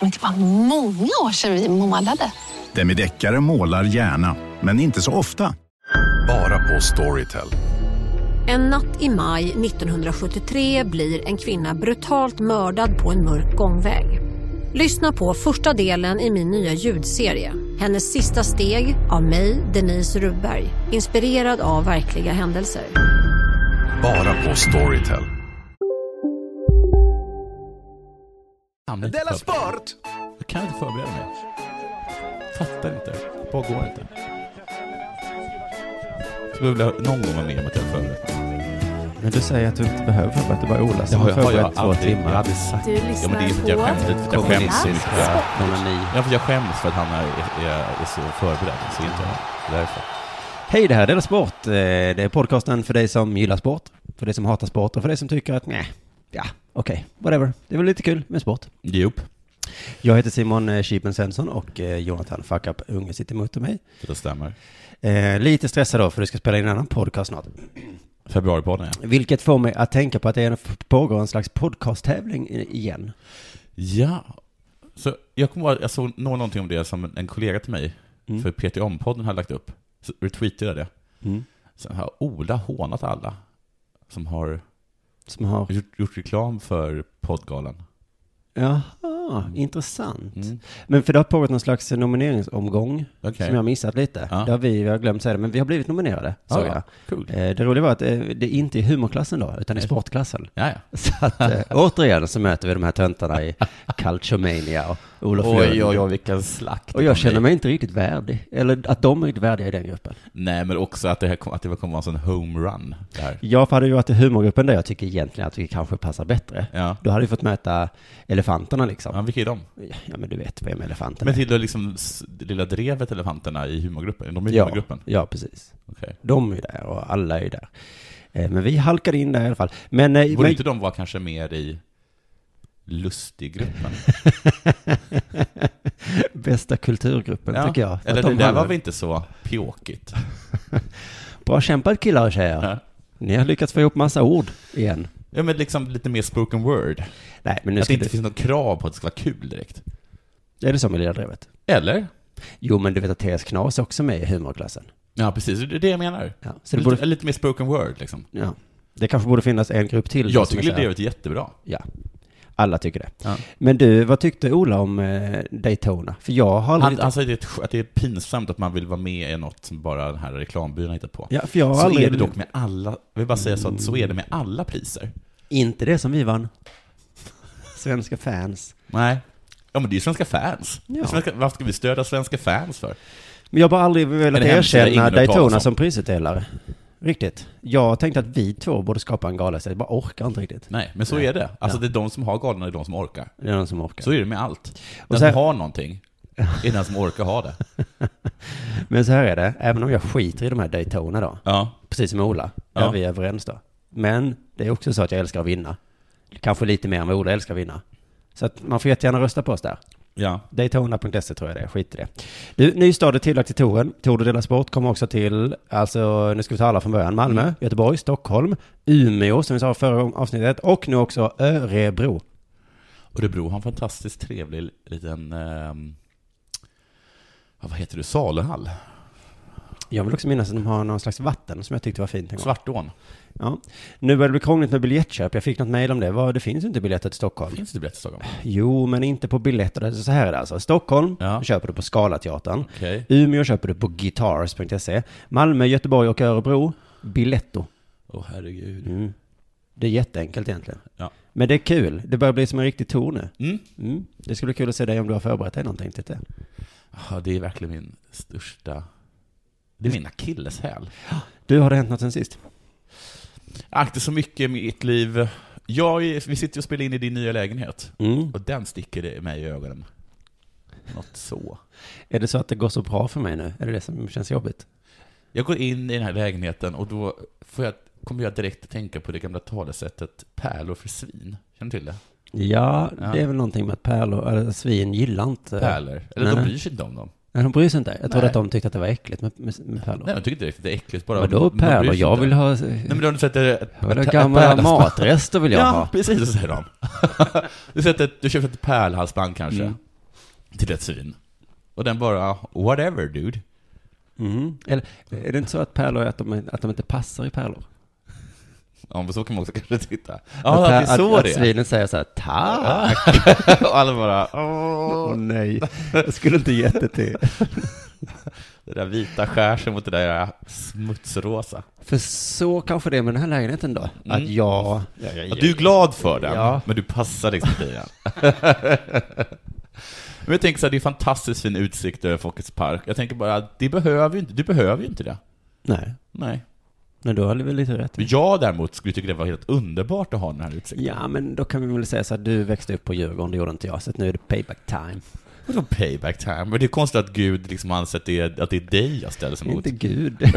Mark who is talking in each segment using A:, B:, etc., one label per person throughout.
A: Men det var många år sedan vi målade.
B: Demideckare målar gärna, men inte så ofta.
C: Bara på Storytel.
D: En natt i maj 1973 blir en kvinna brutalt mördad på en mörk gångväg. Lyssna på första delen i min nya ljudserie. Hennes sista steg av mig, Denise Rubberg. Inspirerad av verkliga händelser.
C: Bara på Storytel.
E: Della Sport! Jag kan inte förbereda mig. Fattar inte. Bara går inte. Skulle vilja någon gång vara med om att jag har förberett mig.
F: Men du säger att du inte behöver förberett det var Ola som har
E: jag, har
F: förberett
E: jag
F: två
E: aldrig, jag har
F: timmar.
E: aldrig sagt.
G: Du
E: ja, men det är för att jag
G: lyssnar
E: skäms
G: på
E: lite. Jag skäms
G: Kommunistisk
E: inte. Ja, för jag skäms för att han är, är, är så förberedd. Så inte jag. Därför.
F: Hej, det här är Della Sport. Eh, Det är podcasten för dig som gillar sport, för dig som hatar sport och för dig som tycker att nej, ja, okej, whatever. Det är väl lite kul med sport.
E: Jopp.
F: Jag heter Simon eh, Chipen Svensson och eh, Jonathan Fuckup Unge sitter emot mig.
E: Det stämmer.
F: Eh, Lite stressad då, för du ska spela in en annan podcast snart.
E: Februaripodden, ja.
F: Vilket får mig att tänka på att det är en- pågår en slags podcasttävling i- igen.
E: Ja. Så jag kommer ihåg, jag såg nå- någonting om det som en kollega till mig, för Peter Om-podden hade lagt upp. Så retweetade jag det.
F: Mm.
E: Sen har Ola hånat alla som har
F: Som har...
E: gjort, gjort reklam för poddgalan.
F: Jaha, intressant.
E: Mm.
F: Men för det har pågått någon slags nomineringsomgång
E: Okej.
F: som jag har missat lite.
E: Ja.
F: Där vi, vi har glömt säga det, men vi har blivit nominerade, såg jag.
E: ja, kul.
F: Eh, Det roliga var att eh, det är inte i humorklassen då, utan i sportklassen.
E: Ja, ja.
F: Så att, eh, återigen så möter vi de här töntarna i Calciomania och Olof Lund.
E: vilken slakt.
F: Och jag känner mig inte riktigt värdig, eller att de är riktigt värdiga i den gruppen.
E: Nej, men också att det, här, kom- att det kommer vara en sån homerun. det här.
F: Jag hade ju varit i humorgruppen där jag tycker egentligen att vi kanske passar bättre.
E: Ja.
F: Då hade vi fått möta elefanterna liksom.
E: ja, vilka är de?
F: Ja, men du vet vad jag med elefanterna
E: Men
F: är.
E: tillhör liksom s- det lilla drevet elefanterna i humorgruppen? Är De är i
F: ja,
E: humorgruppen?
F: ja, precis.
E: Okej.
F: De är ju där och alla är ju där. Eh, Men vi halkade in där i alla fall. Men, eh,
E: Borde
F: men
E: inte de vara kanske mer i lustiggruppen?
F: bästa kulturgruppen tycker jag. Att
E: Eller
F: de
E: det där
F: handlar-
E: var väl inte så pjåkigt?
F: Bra kämpat killar och tjejer.
E: Ja.
F: Ni har lyckats få ihop massa ord igen.
E: Ja, men liksom lite mer spoken word.
F: Nej, men nu
E: att det
F: ska
E: inte
F: du...
E: finns något krav på att det ska vara kul direkt.
F: Är det så med Lilla Drevet?
E: Eller?
F: Jo, men du vet att Therese Knas är också med i humorklassen.
E: Ja, precis. Det är det jag menar.
F: Ja, så det
E: lite,
F: borde-
E: lite mer spoken word, liksom.
F: Ja. Det kanske borde finnas en grupp till.
E: Jag
F: som är
E: tycker
F: så
E: det
F: här-
E: är ett jättebra.
F: Ja. Alla tycker det.
E: Ja.
F: Men du, vad tyckte Ola om eh, Daytona? För jag har aldrig...
E: Han, han säger att det är ett- att det är pinsamt att man vill vara med i något som bara den här reklambyrån har hittat på.
F: Ja, för jag har
E: så
F: aldrig...
E: är det dock med alla, jag vill bara säga så att så är det med alla priser.
F: Inte det som vi vann. Svenska fans.
E: Nej. Ja men det är ju svenska fans.
F: Ja.
E: Svenska, varför ska vi stödja svenska fans för?
F: Men jag har bara aldrig velat
E: En hemsida ingen
F: erkänna
E: har hört talas
F: Daytona
E: om.
F: som prisutdelare. Riktigt. Jag tänkte att vi två borde skapa en gala istället. Jag bara orkar inte riktigt.
E: Nej, men så är det. Alltså det är de som har galorna, det är de som orkar.
F: Det är någon som orkar.
E: Så är det med allt. Den
F: Och så här-
E: som har någonting, är den som orkar ha det.
F: Men så här är det, även om jag skiter i de här Daytona då,
E: Ja.
F: precis som Ola, där
E: Ja.
F: vi är överens då. Men det är också så att jag älskar att vinna. Kanske lite mer än vad Ola älskar att vinna. Så att man får jättegärna rösta på oss där.
E: Ja.
F: Daytona.se E tror jag det är, skit i det. Du, ny stad är tillagt till touren. Tour de Dela Sport kommer också till, alltså nu ska vi ta alla från början, Malmö,
E: Mm.
F: Göteborg, Stockholm, Umeå som vi sa i förra avsnittet och nu också Örebro.
E: Örebro har en fantastiskt trevlig liten, ehm, ja, vad heter det, saluhall?
F: Jag vill också minnas att de har någon slags vatten som jag tyckte var fint en gång.
E: Svartån.
F: Ja. Nu börjar det bli krångligt med biljettköp. Jag fick något mejl om det. Vad, det finns ju inte biljetter till Stockholm.
E: Finns det biljetter i Stockholm?
F: Jo, men inte på biljetter. Så här är det alltså. Stockholm
E: Ja.
F: köper du på Scalateatern.
E: Okej.
F: Umeå köper du på guitars.se. E. Malmö, Göteborg och Örebro, Biletto.
E: Åh herregud.
F: Mm. Det är jätteenkelt egentligen.
E: Ja.
F: Men det är kul. Det börjar bli som en riktig tour nu.
E: Mm.
F: Mm. Det skulle bli kul att se dig om du har förberett dig någonting till det.
E: Ja, det är verkligen min största... Det är min akilleshäl.
F: Du, har det hänt något sen sist?
E: Akta så mycket i mitt liv. Jag, är- vi sitter och spelar in i din nya lägenhet.
F: Mm.
E: Och den sticker i mig i ögonen. Något så.
F: Är det så att det går så bra för mig nu? Är det det som känns jobbigt?
E: Jag går in i den här lägenheten och då får jag, kommer jag direkt att tänka på det gamla talesättet pärlor för svin. Känner du till det?
F: Ja,
E: Ja.
F: det är väl någonting med att pärlor, eller svin gillar inte...
E: Pärlor. Eller de
F: Nej, nej.
E: bryr sig inte om dem.
F: Nej, de bryr sig inte. Jag trodde
E: Nej.
F: att de tyckte att det var äckligt med, med, med pärlor.
E: Nej, de tycker direkt att det är äckligt. Bara,
F: Vadå
E: men de bryr
F: pärlor?
E: sig
F: Jag
E: inte.
F: vill ha...
E: Nej men då har du sett det...
F: Jag vill ha gamla matrester vill jag
E: Ja,
F: ha.
E: precis, så säger de. du, sätter, du köper ett pärlhalsband kanske,
F: Mm.
E: till ett svin. Och den bara, whatever dude.
F: Mm. Eller är det inte så att pärlor är att de, att de inte passar i pärlor?
E: Ja, men så kan man också kanske titta.
F: att,
E: Ja, det är så
F: att,
E: det
F: att
E: är.
F: svinen säger så här, tack!
E: Och alla bara, åh,
F: Åh nej, jag skulle inte gett det till.
E: det där vita skär sig mot det där smutsrosa.
F: För så kanske det är med den här lägenheten då. Att jag...
E: Ja, du är glad för den,
F: Ja.
E: men du passar liksom inte i den. Men jag tänker så här, det är fantastiskt fin utsikt över Folkets Park. Jag tänker bara, det behöver ju inte, du behöver ju inte det.
F: Nej,
E: Nej.
F: men då har du väl lite rätt.
E: Men jag däremot skulle tycka det var helt underbart att ha den här utsikten.
F: Ja, men då kan vi väl säga så att du växte upp på Djurgården, det gjorde inte jag, så att nu är det payback time.
E: Vadå payback time? Men det är konstigt att Gud liksom anser att det är, att det är dig jag ställer sig mot.
F: Inte Gud. det,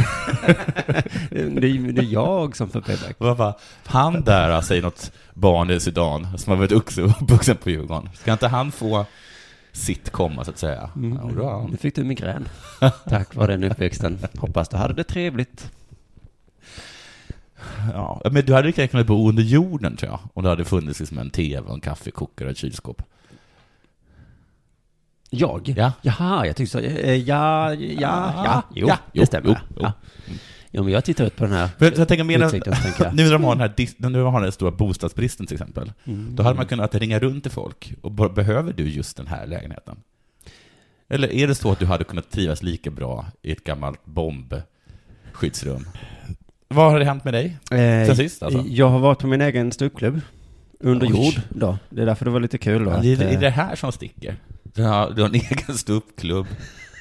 F: är, det är jag som får payback.
E: Och jag bara, Han där säger något barn i Sudan som har varit också uppvuxen på Djurgården. Ska inte han få sitt komma så att säga? Ja, bra.
F: Nu fick du migrän. Tack vare den uppväxten. Hoppas du hade det trevligt.
E: Ja. Men du hade lika gärna kunnat bo under jorden tror jag. Om det hade funnits liksom en tv, och en kaffekokare och ett kylskåp.
F: Jag?
E: Ja.
F: Jaha, jag tyckte så. eh, Ja, ja, ja, ja, jo,
E: Ja, jo,
F: det stämmer.
E: jo,
F: Jo,
E: jo.
F: Ja. jo, men jag tittar ut på den här.
E: Men jag tänker mer än,
F: Utsikten, så tänker jag.
E: nu när de har den här, dis- nu när de har den här stora bostadsbristen till exempel, då hade man kunnat ringa runt till folk och bara, behöver du just den här lägenheten? Eller är det så att du hade kunnat trivas lika bra i ett gammalt bombskyddsrum? Vad har det hänt med dig?
F: Eh,
E: Sen sist alltså?
F: Jag har varit på min egen ståuppklubb. Under
E: Oj.
F: jord då. Det är därför det var lite kul då.
E: Ja, det, är,
F: att,
E: det
F: eh,
E: är det här som sticker. Du har, du har en egen ståuppklubb,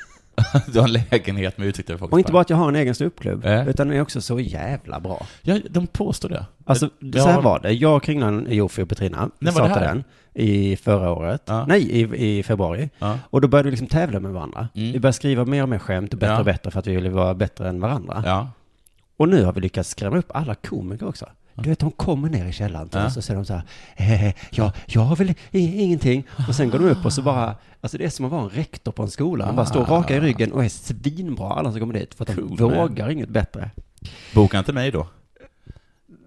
E: du har en lägenhet med utsikt över folk.
F: och inte bara att jag har en egen ståuppklubb,
E: Eh.
F: utan den är också så jävla bra.
E: Ja, de påstår det.
F: Alltså,
E: Jag-
F: så här var det. Jag och Kringlan Jofi och Petrina
E: När var det
F: startade
E: här?
F: den i förra året.
E: Ja.
F: Nej, i, i februari.
E: Ja.
F: Och då började vi liksom tävla med varandra.
E: Mm.
F: Vi började skriva mer och mer skämt och bättre
E: Ja.
F: och bättre för att vi ville vara bättre än varandra.
E: Ja.
F: Och nu har vi lyckats skrämma upp alla komiker också. Du vet, de kommer ner i källaren till
E: Ja.
F: oss och säger de så här, eh, ja, jag har väl i- ingenting. Och sen går de upp och så bara, alltså det är som att vara en rektor på en skola. Han bara står raka i ryggen och är svinbra, alla som kommer dit, för att de
E: Ah. Cool, man.
F: vågar inget bättre.
E: Boka inte mig då.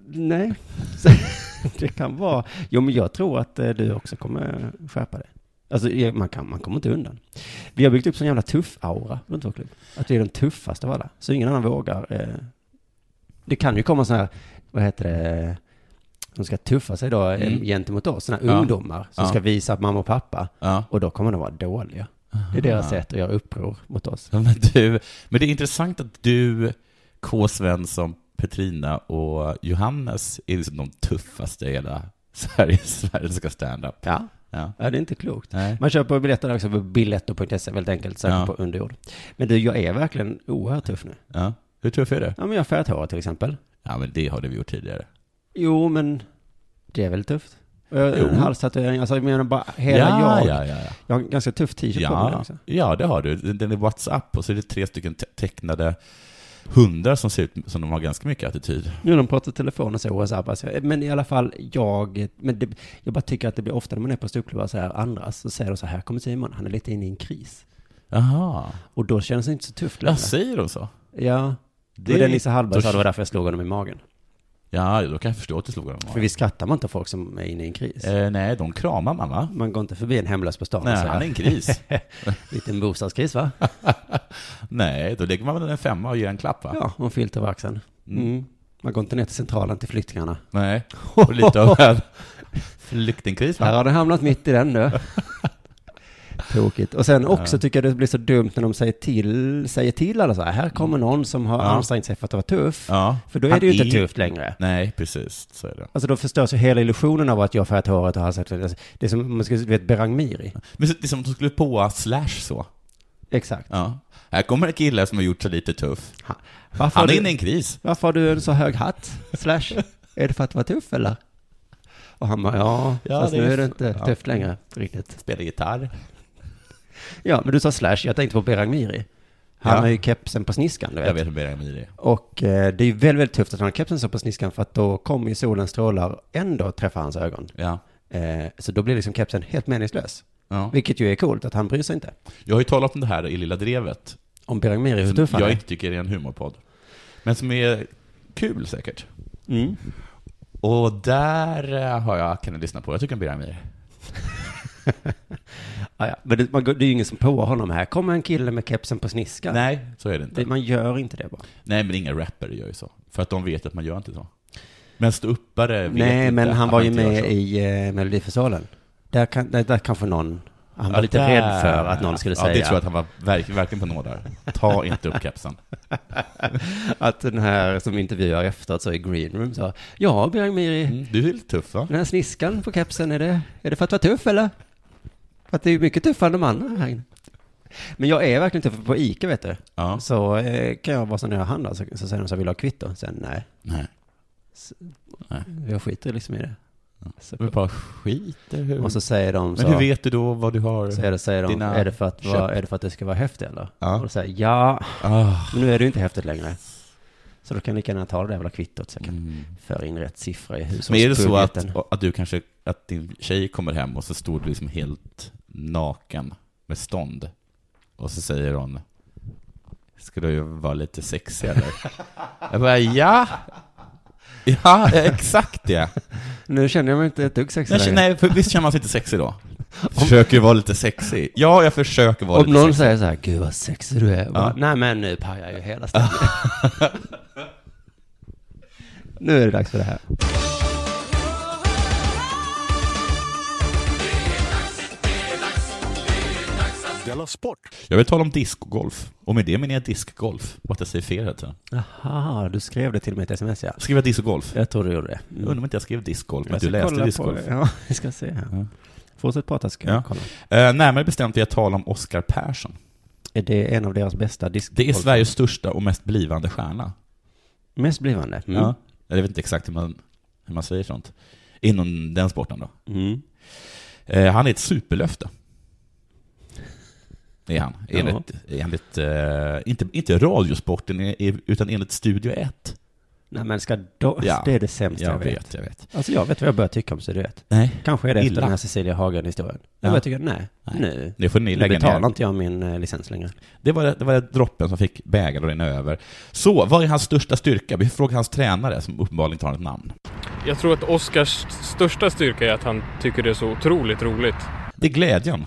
F: Nej, så, det kan vara. Jo, men jag tror att eh, du också kommer skärpa dig. Alltså, eh, man, kan, man kommer inte undan. Vi har byggt upp sån jävla tuff-aura runt vår klubb. Att vi är den tuffaste av alla. Så ingen annan vågar. Eh. Det kan ju komma sådana här, vad heter det, som ska tuffa sig då eh,
E: Mm.
F: gentemot oss. Sådana här
E: Ja.
F: ungdomar som
E: Ja.
F: ska visa att mamma och pappa.
E: Ja.
F: Och då kommer de vara dåliga. Det är deras sätt att göra uppror mot oss.
E: Ja, men, du, men det är intressant att du, K. Svensson, Petrina och Johannes är liksom de tuffaste i hela Sveriges svenska standup.
F: Ja,
E: Ja.
F: ja det är inte klokt.
E: Nej.
F: Man köper biljetter också på biletto.se E väldigt enkelt, särskilt
E: Ja.
F: på underjord. Men du, jag är verkligen oerhört tuff nu.
E: Ja. Hur tuff är du?
F: Ja, men jag har färgat hår till exempel.
E: Ja, men det har du gjort tidigare.
F: Jo, men det är väl tufft? Och jag har
E: Jo.
F: en halstatuering, alltså jag menar bara hela
E: ja,
F: jag.
E: ja, ja, ja.
F: Jag har en ganska tuff t-shirt på mig liksom.
E: Ja,
F: också.
E: ja, det har du. Den är WhatsApp och så är det tre stycken te- tecknade hundar som ser ut som de har ganska mycket attityd.
F: Nu när de pratar i telefon och så WhatsApp, alltså, men i alla fall jag, men det, jag bara tycker att det blir ofta när man är på ståuppklubbar så här andras, så säger de så här, här kommer Simon, han är lite inne i en kris.
E: Jaha.
F: Och då känns det inte så tufft
E: Ja,
F: längre.
E: säger de så?
F: Ja, det
E: Alltså, Det-
F: var det Nisse Hallberg
E: då-
F: sa, det var därför jag slog honom i magen.
E: Ja, då kan jag förstå att du slog honom.
F: För visst skrattar man inte åt folk som är inne i en kris?
E: Eh, nej, de kramar man va?
F: Man går inte förbi en hemlös på stan och
E: Nej,
F: säger,
E: han är en gris.
F: liten bostadskris va?
E: nej, då lägger man väl en femma och ger en klapp va?
F: Ja, och en filt över axeln. Mm. Man går inte ner till centralen till flyktingarna.
E: Nej, och lite av en flyktingkris
F: Här
E: va?
F: har den hamnat mitt i den nu. Tokigt. Och sen också tycker jag det blir så dumt när de säger till, säger till alla så här, här kommer någon som har ansträngt sig för att vara tuff.
E: Mm. Ja.
F: För då är
E: Han
F: det ju inte
E: är-
F: tufft längre.
E: Nej, precis, så är det.
F: Alltså då förstörs ju hela illusionen av att jag har färgat håret och har sagt, alltså, det är som om man skulle, du vet, Berang Miri.
E: Men så- det är som att de skulle på slash så.
F: Exakt.
E: Ja. Här kommer en kille som har gjort sig lite tuff.
F: Ha- Varför, har
E: Han är
F: du,
E: inne i en kris.
F: varför har du en så hög hatt? Slash, är det för att vara tuff eller? Och han bara, ja,
E: Ja,
F: fast
E: det är
F: nu
E: ju
F: är det
E: f-
F: inte
E: ja.
F: tufft längre riktigt.
E: Spelar gitarr.
F: Ja, men du sa Slash, jag tänkte på Berang Miri. Han
E: Ja.
F: har ju kepsen på sniskan, du
E: Jag
F: vet.
E: vet hur Beria Miri är.
F: Och eh, det är ju väldigt, väldigt tufft att han har kepsen så på sniskan för att då kommer ju solens strålar ändå träffa hans ögon.
E: Ja.
F: Eh, så då blir liksom kepsen helt meningslös.
E: Ja.
F: Vilket ju är coolt, att han bryr sig inte.
E: Jag har ju talat om det här i Lilla Drevet,
F: Om Berang Miri, hur
E: som
F: tuff han
E: jag
F: är.
E: inte tycker är en humorpodd. Men som är kul säkert.
F: Mm.
E: Och där eh, har jag, kan jag lyssna på, jag tycker om Beria Miri.
F: Ah, Ja, ja. Men det, man, går- det är ju ingen som påar honom här. Kommer en kille med kepsen på sniskan?
E: Nej, så är det inte.
F: Det, man gör inte det bara.
E: Nej, men inga rappare gör ju så. För att de vet att man gör inte så. Men ståuppare vet
F: Nej,
E: inte
F: men
E: att
F: han
E: man
F: var ju
E: inte gör
F: med
E: så.
F: i eh, Melodifestivalen. Där, kan, där, där kanske någon, han var
E: Ja,
F: lite
E: där.
F: rädd för att någon skulle
E: ja,
F: säga
E: det tror jag att han var verk, verkligen på nålar. Ta inte upp kepsen.
F: att den här som intervjuar efteråt så i Green Room sa, ja, Björn Miri,
E: Mm, du är lite tuff va?
F: den här sniskan på kepsen, är det, är det för att vara tuff eller? För att det är ju mycket tuffare än de andra här inne. Men jag är verkligen tuff på ICA vet du.
E: Ja.
F: Så eh, kan jag vara så när jag handlar så, så säger de så här, vill du ha kvitto? Sen nej,
E: Nej.
F: jag skiter liksom i det. Så,
E: Du bara skiter hur...
F: och så säger de så.
E: Men hur vet du då vad du har?
F: Så är det, säger de,
E: Dina
F: är det för att, vara,
E: köp.
F: är det för att det ska vara häftigt eller?
E: Ja.
F: Och då säger jag, ja,
E: Ah.
F: men nu är det ju inte häftigt längre. Så då kan jag lika gärna ta det där jävla kvittot så jag kan
E: Mm.
F: föra in rätt siffra i
E: Men är det så
F: hushållsbudgeten.
E: att, att du kanske, att din tjej kommer hem och så står du liksom helt naken med stånd och så säger hon Ska du vara lite sexig eller? Jag bara ja! Ja, exakt det!
F: Nu känner jag mig inte ett dugg sexig
E: Nej,
F: längre.
E: nej för visst känner man sig inte sexig då? Försöker ju vara lite sexig. Ja, jag försöker vara
F: Om
E: lite
F: någon
E: sexig.
F: säger så här, gud vad sexig du är. Jag Bara, Nej men nu pajar jag ju hela stämningen. nu är det dags för det här.
B: Della Sport.
E: Jag vill tala om discogolf. Och med det menar jag diskgolf. Och att jag säger fel hela tiden.
F: Jaha, du skrev det till mig i ett sms ja.
E: Skriva discogolf.
F: Jag tror du gjorde det.
E: Jag
F: Mm.
E: undrar om inte jag skrev discgolf, men
F: Jag
E: du
F: ska kolla
E: läste
F: på
E: discgolf.
F: det. Ja, vi ska se här.
E: Ja.
F: Fortsätt prata ska jag
E: Ja.
F: kolla.
E: Eh, närmare bestämt vill jag tala om Oscar Persson.
F: Är det en av deras bästa disk?
E: Det är Sveriges största och mest blivande stjärna.
F: Mest blivande. Mm.
E: Ja. Jag vet inte exakt hur man, hur man säger sånt. Inom den sporten då.
F: Mm.
E: Eh, han är ett superlöfte. Det är han. Enligt, enligt eh, inte, inte radiosporten, eh, utan enligt Studio 1.
F: Nej men ska då,
E: Ja.
F: det är det sämsta jag,
E: Jag
F: vet.
E: vet, jag vet.
F: Alltså jag vet vad jag börjar tycka om Sydret.
E: Nej,
F: Kanske är det efter
E: Illa.
F: den här Cecilia Hagen-historien. Jag
E: Ja.
F: börjar tycka, nej,
E: Nej.
F: nu,
E: det får ni
F: nu
E: lägga
F: betalar
E: ner.
F: inte jag min eh, licens längre.
E: Det var, det var droppen som fick bägaren att rinna över. Så, vad är hans största styrka? Vi frågar hans tränare, som uppenbarligen inte har ett namn.
H: Jag tror att Oscars största styrka är att han tycker det är så otroligt roligt.
E: Det är glädjen.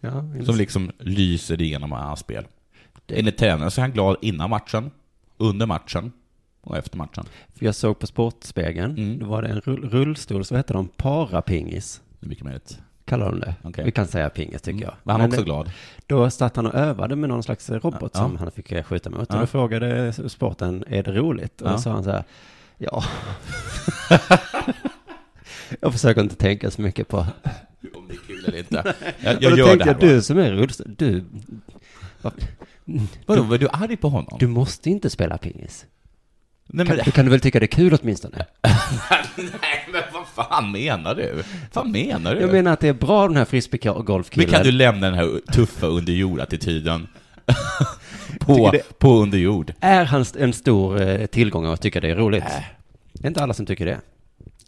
F: Ja,
E: Som liksom lyser igenom hans spel. Enligt tränaren så är han glad innan matchen, under matchen och efter matchen.
F: För jag såg på Sportspegeln,
E: Mm.
F: då var det en rull, rullstol, så heter de parapingis.
E: Det är mycket möjligt.
F: Kallar de det.
E: Okej. Mm.
F: Vi kan säga pingis tycker jag.
E: Men han är
F: Men
E: också
F: det-
E: glad.
F: Då satt han och övade med någon slags robot
E: Ja.
F: som han fick eh, skjuta mot. Och
E: Ja.
F: då frågade sporten, är det roligt? Och
E: Ja.
F: då sa han så här, ja. jag försöker inte tänka så mycket på.
E: Om det är kul eller inte. Jag,
F: och
E: jag
F: då
E: gör det
F: tänkte
E: här
F: jag,
E: bara.
F: du som är rullstol, du,
E: Vadå, var du arg på honom?
F: du måste inte spela pingis.
E: nej,
F: Kan,
E: men,
F: då kan du väl tycka det är kul åtminstone?
E: nej men vad fan menar du? Vad menar du?
F: Jag menar att det är bra den här
E: men
F: frisbeegolfkillen.
E: kan du lämna den här tuffa underjord-attityden? på, på underjord.
F: Är han st- en stor eh, tillgång och tycker det är roligt? Det är inte alla som tycker det.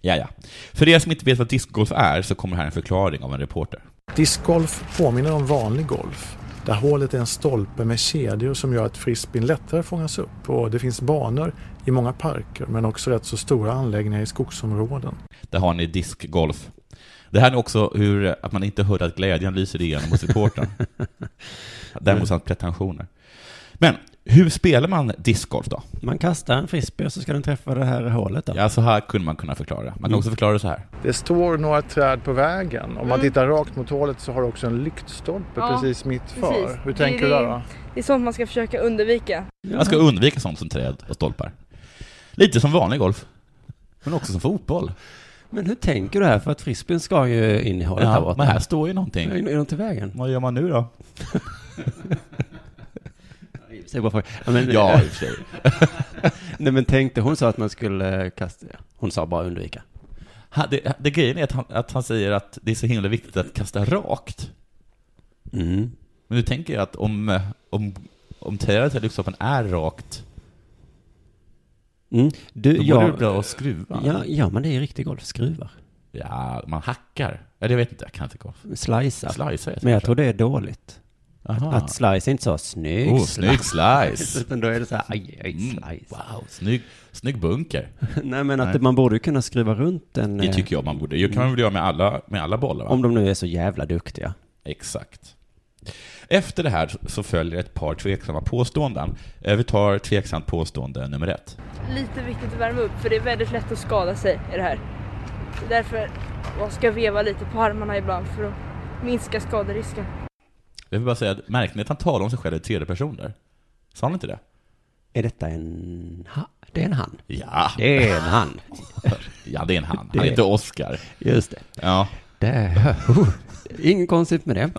E: Ja, ja. För er som inte vet vad discgolf är så kommer här en förklaring av en reporter.
G: Discgolf påminner om vanlig golf. Där hålet är en stolpe med kedjor som gör att frisbeen lättare fångas upp. Och det finns banor i många parker men också rätt så stora anläggningar i skogsområden.
E: Där har ni diskgolf. Det här är också hur, att man inte hörde att glädjen lyser igenom hos reportern. Däremot hans pretensioner. Men, hur spelar man diskgolf då?
F: Man kastar en frisbee och så ska den träffa det här hålet då.
E: Ja, Mm. så här kunde man kunna förklara. Man kan också förklara det så här.
G: Det står några träd på vägen. Om man tittar rakt mot hålet så har du också en lyktstolpe precis mitt för. Hur tänker du där då?
E: Man ska undvika sånt som träd och stolpar. Lite som vanlig golf. Men också som fotboll.
F: Men hur tänker du här? För att frisbeen ska ju in i hålet här
E: Ja,
F: borta.
E: men här står ju någonting.
F: Är är de till vägen?
E: Vad gör man nu då?
F: Säg bara fråga. ja, men,
E: Ja, i och för sig.
F: Nej men tänkte hon sa att man skulle eh, kasta, hon sa bara undvika.
E: Han- Det, det grejen är att han, att han säger att det är så himla viktigt att kasta rakt.
F: Mm.
E: Men nu tänker jag att om, eh, om, om trädet eller lyxsoppan är rakt,
F: Mm. Du,
E: då
F: jag-
E: borde det bra att skruva.
F: Ja, ja, men det är riktig golf. Skruvar.
E: Ja, man hackar. Eller jag vet inte, jag kan inte golf.
F: Slicear.
E: Slicear
F: men jag
E: kanske.
F: tror det är dåligt.
E: Aha.
F: Att slice är inte så snygg
E: Oh, snygg slice.
F: Utan då är det så här, aj, aj,
E: Mm,
F: slice.
E: Wow, snygg, snygg bunker.
F: Nej, men att
E: Nej.
F: man borde ju kunna skruva runt den.
E: Det
F: eh,
E: tycker jag man borde. Det kan man
F: Mm.
E: väl göra med alla, med alla bollar? Va?
F: Om de nu är så jävla duktiga.
E: Exakt. Efter det här så följer ett par tveksamma påståenden. Eh, Vi tar tveksamt påstående nummer ett.
I: Lite viktigt att värma upp för det är väldigt lätt att skada sig i det här. Därför man ska veva lite på armarna ibland för att minska skaderisken.
E: Jag vill bara säga att märkte ni att han talar om sig själv i tredje person där? Sa han inte det?
F: Är detta en... Ha, det är en han.
E: Ja.
F: Det är en han.
E: ja, det är en han.
F: Det
E: Han
F: är-
E: heter Oscar.
F: Just det.
E: Ja.
F: Det, oh, inget konstigt med det.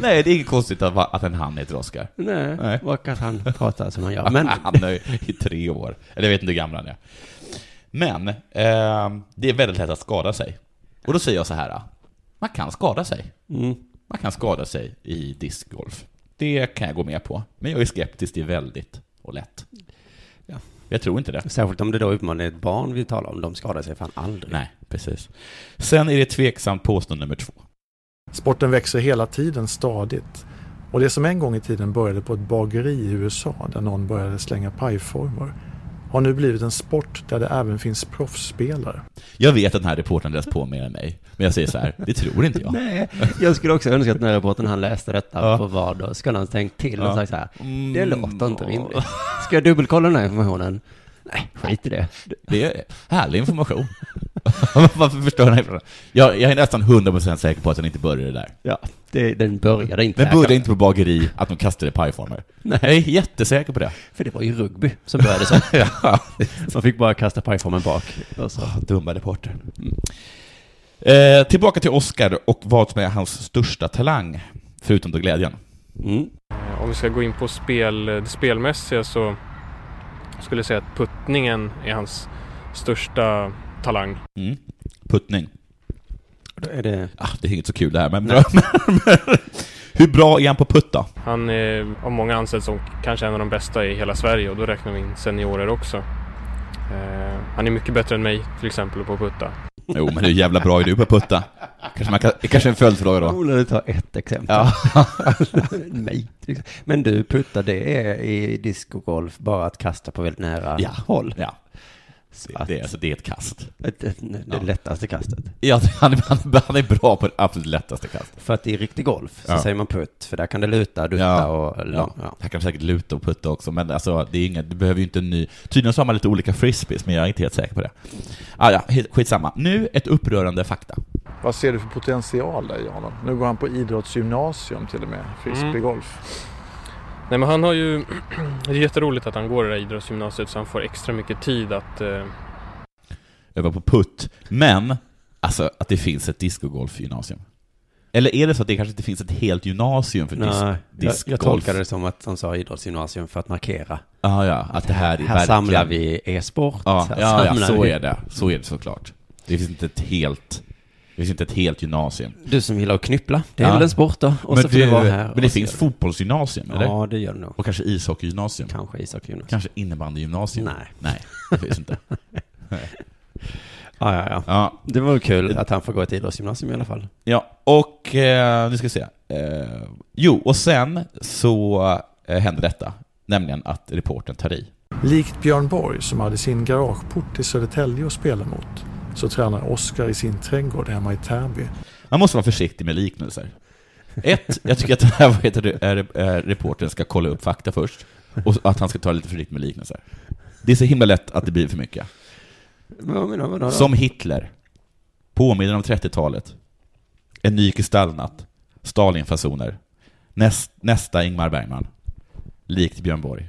E: Nej, det är inget konstigt att, att en han heter Oscar.
F: Nej,
E: Nej.
F: och att han pratar som han gör. Men
E: Han är i tre år. Eller jag vet inte hur gammal han är. Men eh, det är väldigt lätt att skada sig. Och då säger jag så här. Man kan skada sig.
F: Mm.
E: Man kan skada sig i discgolf. Det kan jag gå med på. Men jag är skeptisk till väldigt och lätt.
F: Ja. Mm.
E: Jag tror inte det.
F: särskilt om det då uppenbarligen är ett barn vi talar om. De skadar sig fan aldrig.
E: Nej, precis. Sen är det tveksamt påstående nummer två.
G: Sporten växer hela tiden stadigt. Och det som en gång i tiden började på ett bageri i USA där någon började slänga pajformar har nu blivit en sport där det även finns proffsspelare.
E: Jag vet att den här reportern läst på mer än mig. Men jag säger så här, det tror inte jag.
F: Nej, jag skulle också önska att när reportern han läste detta
E: Ja.
F: på vad då, skulle han tänkt till och
E: Ja.
F: sagt så här,
E: Mm.
F: det låter inte rimligt. Ska jag dubbelkolla den här informationen? Nej, skit i det.
E: Det är härlig information. Varför förstör den här informationen? jag, jag är nästan 100% säker på att den inte började där.
F: Ja, det, den började inte
E: Den
F: här,
E: började
F: kan-
E: inte på bageri, att de kastade pajformer.
F: Nej.
E: Jag är jättesäker på det.
F: För det var ju rugby som började så.
E: ja. Ah,
F: Man fick bara kasta pajformen bak. Och så.
E: Dumma reporter. Mm. Eh, tillbaka till Oscar och vad som är hans största talang, förutom då glädjen.
F: Mm.
H: Eh, Om vi ska gå in på spel, det spelmässiga så skulle jag säga att puttningen är hans största talang.
E: Mm. Puttning.
F: Då är det...
E: Ah, det är inget så kul det här, men... Hur bra är han på att putta?
H: Han är av många ansedd som kanske en av de bästa i hela Sverige och då räknar vi in seniorer också. Eh, han är mycket bättre än mig till exempel på att putta.
E: Jo, men hur jävla bra är du på att putta? Kanske, man kan, kanske en följdfråga då.
F: Roligt att ta ett exempel.
E: Ja.
F: Nej. till exempel. Men du, putta, det är i discogolf bara att kasta på väldigt nära
E: Ja.
F: håll.
E: Ja. Det, är- alltså, det är ett kast.
F: Det, det,
E: Ja.
F: lättaste kastet.
E: Ja, han, är- han, är- han är bra på det absolut lättaste kastet.
F: För att i riktig golf så
E: Ja.
F: säger man putt, för där kan det luta, dutta och...
E: ja.
F: Ja. Ja.
E: Han kan säkert luta och putta också, men alltså, det är inget, du behöver ju inte en ny... Tydligen så har man lite olika frisbees, men jag är inte helt säker på det. Ah, ja, he- skitsamma. Nu ett upprörande fakta.
J: Vad ser du för potential där i honom? Nu går han på idrottsgymnasium till och med, frisbeegolf.
H: Nej men han har ju, det är jätteroligt att han går i det här idrottsgymnasiet så han får extra mycket tid att eh,
E: Öva på putt, men alltså att det finns ett discogolfgymnasium. Eller är det så att det kanske inte finns ett helt gymnasium för
F: Nej,
E: dis-
F: jag,
E: discgolf?
F: jag tolkade det som att de sa idrottsgymnasium för att markera.
E: Ja, Ah, ja, att det här är
F: Här samlar
E: verkligen-
F: vi e-sport.
E: Ja,
F: här
E: ja, ja
F: samlar
E: så
F: vi-
E: är det. Så är det såklart. Det finns inte ett helt, det finns inte ett helt gymnasium.
F: Du som gillar att knyppla, det är
E: Ja.
F: väl en sport då? Och
E: men
F: så får du vara här.
E: men det
F: och så
E: finns
F: gör
E: fotbollsgymnasium,
F: du-
E: eller?
F: Ja, det gör det nog.
E: Och kanske ishockeygymnasium?
F: Kanske ishockeygymnasium.
E: Kanske innebandygymnasium?
F: Nej.
E: Nej, det finns inte. Nej.
F: Ja, ja, ja.
E: Ja.
F: Det var väl kul att han får gå ett idrottsgymnasium i alla fall.
E: Ja, och eh, nu ska vi se. Eh, jo, och sen så eh, händer detta. Nämligen att reportern tar i.
G: Mm. Likt Björn Borg som hade sin garageport i Södertälje att spela mot så tränar Oskar i sin trädgård hemma i Täby.
E: Man måste vara försiktig med liknelser. Ett, jag tycker att den här vad heter det, är, är, reportern ska kolla upp fakta först. Och att han ska ta det lite försiktigt med liknelser. Det är så himla lätt att det blir för mycket.
F: Vad menar du?
E: Som Hitler. Påminner om 30-talet. En ny kristallnatt. Stalinfasoner. Näst, nästa Ingmar Bergman. Likt Björn Borg.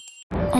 K: Om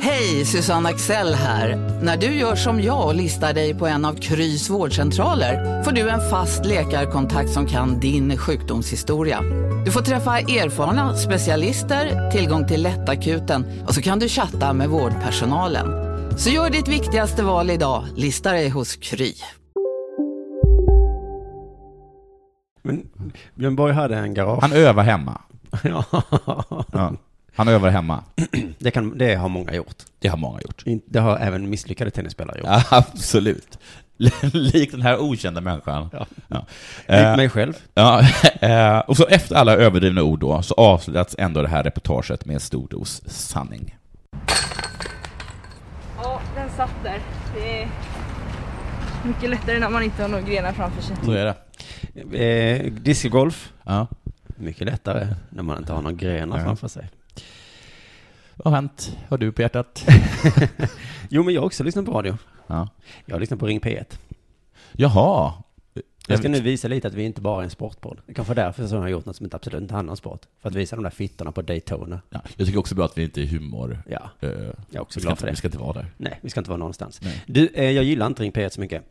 L: Hej, Susanne Axel här. När du gör som jag och listar dig på en av Krys vårdcentraler får du en fast läkarkontakt som kan din sjukdomshistoria. Du får träffa erfarna specialister, tillgång till lättakuten och så kan du chatta med vårdpersonalen. Så gör ditt viktigaste val idag, lista dig hos Kry.
F: Men Björn Borg hade en garage.
E: Han övar hemma. Ja. Han övar hemma.
F: Det, kan, det har många gjort.
E: Det har många gjort.
F: In- Det har även misslyckade tennisspelare gjort.
E: Ja, absolut. Lik den här okända människan. Ja.
F: Lik mig själv.
E: Ja, eh, och så efter alla överdrivna ord då, så avslutas ändå det här reportaget med en stor dos sanning.
I: Ja, den satt där. Det är mycket lättare när man inte har några grenar framför sig.
E: Så är det.
F: Eh, discgolf.
E: Ja.
F: Mycket lättare när man inte har någon grenar
E: Ja.
F: framför sig.
E: Vad har hänt? Har du på hjärtat?
F: jo, men jag har också lyssnat på radio.
E: Ja.
F: Jag lyssnar på Ring P1.
E: Jaha.
F: Jag ska nu visa lite att vi inte bara är en sportpodd. Det kanske är därför som jag har gjort något som inte absolut inte handlar om sport. För att visa de där fittorna på Daytona.
E: Ja, jag tycker också bra att vi inte är humor.
F: Ja.
E: Eh,
F: Jag är också
E: vi ska
F: glad
E: inte-
F: för det.
E: Vi ska inte vara där.
F: Nej, vi ska inte vara någonstans.
E: Nej.
F: Du, eh, jag gillar inte Ring P1 så mycket.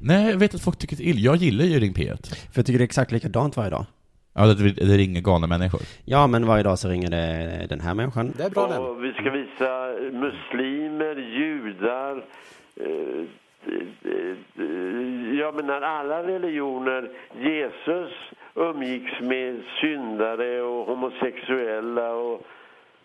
E: Nej, jag vet att folk tycker illa. Jag gillar ju Ring P1.
F: För jag tycker det är exakt likadant varje dag.
E: Ja, det, det ringer galna människor.
F: Ja, men varje dag så ringer det den här människan.
M: Det är bra och Vi ska visa muslimer, judar, eh, eh, eh, jag menar alla religioner. Jesus umgicks med syndare och homosexuella och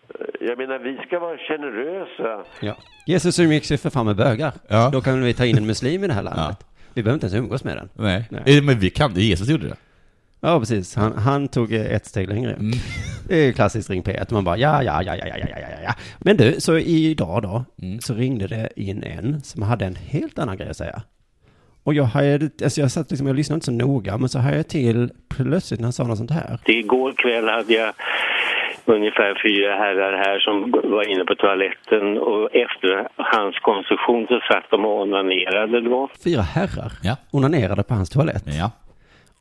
M: eh, jag menar vi ska vara generösa.
F: Ja. Jesus umgicks ju för fan med bögar.
E: Ja.
F: Då kan vi ta in en muslim i det här landet. Vi behöver inte ens umgås med den.
E: Nej. Eh, Men vi kan det. Jesus gjorde det.
F: Ja, precis. Han, han tog eh, ett steg längre.
E: Mm.
F: Det är ju klassiskt Ring P1. Man bara ja, ja, ja, ja, ja, ja, ja, ja, ja. Men du, så idag då,
E: Mm.
F: så ringde det in en som hade en helt annan grej att säga. Och jag hajade, alltså jag satt liksom, jag lyssnade inte så noga, men så hajade jag till plötsligt när han sa något sånt här.
N: Igår kväll hade jag ungefär fyra herrar här som var inne på toaletten och efter hans konsumtion så satt de och onanerade då.
F: Fyra herrar
E: Ja.
F: onanerade på hans toalett.
E: Ja.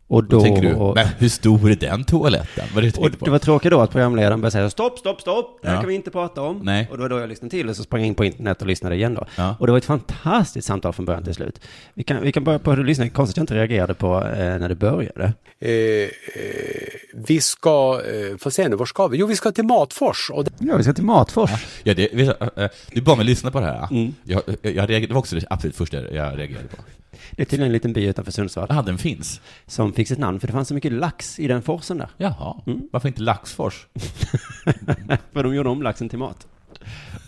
F: Och då...
E: Då tänker du, men hur stor är den toaletten? Vad är det du
F: Och
E: tänkte på?
F: det var tråkigt då att programledaren började säga stopp, stopp, stopp, det här
E: Ja.
F: kan vi inte prata om.
E: Nej.
F: Och då var då jag lyssnade till och så sprang jag in på internet och lyssnade igen då.
E: Ja.
F: Och det var ett fantastiskt samtal från början till slut. Vi kan, vi kan börja på hur du lyssnade, konstigt att jag inte reagerade på eh, när det började.
O: Eh, eh, vi ska, eh, får se nu, var ska vi? Jo, vi ska till Matfors. Och
F: Ja, vi ska till Matfors.
E: Ja, det, vet du, eh, eh, det är bara med att lyssna på det här.
F: Mm.
E: Jag, eh, jag, jag reagerade, det var också det absolut första jag reagerade på.
F: Det är tydligen en liten by utanför Sundsvall.
E: Ja, den finns.
F: Som fick sitt namn, för det fanns så mycket lax i den forsen där.
E: Jaha,
F: Mm.
E: varför inte Laxfors?
F: för de gjorde om laxen till mat.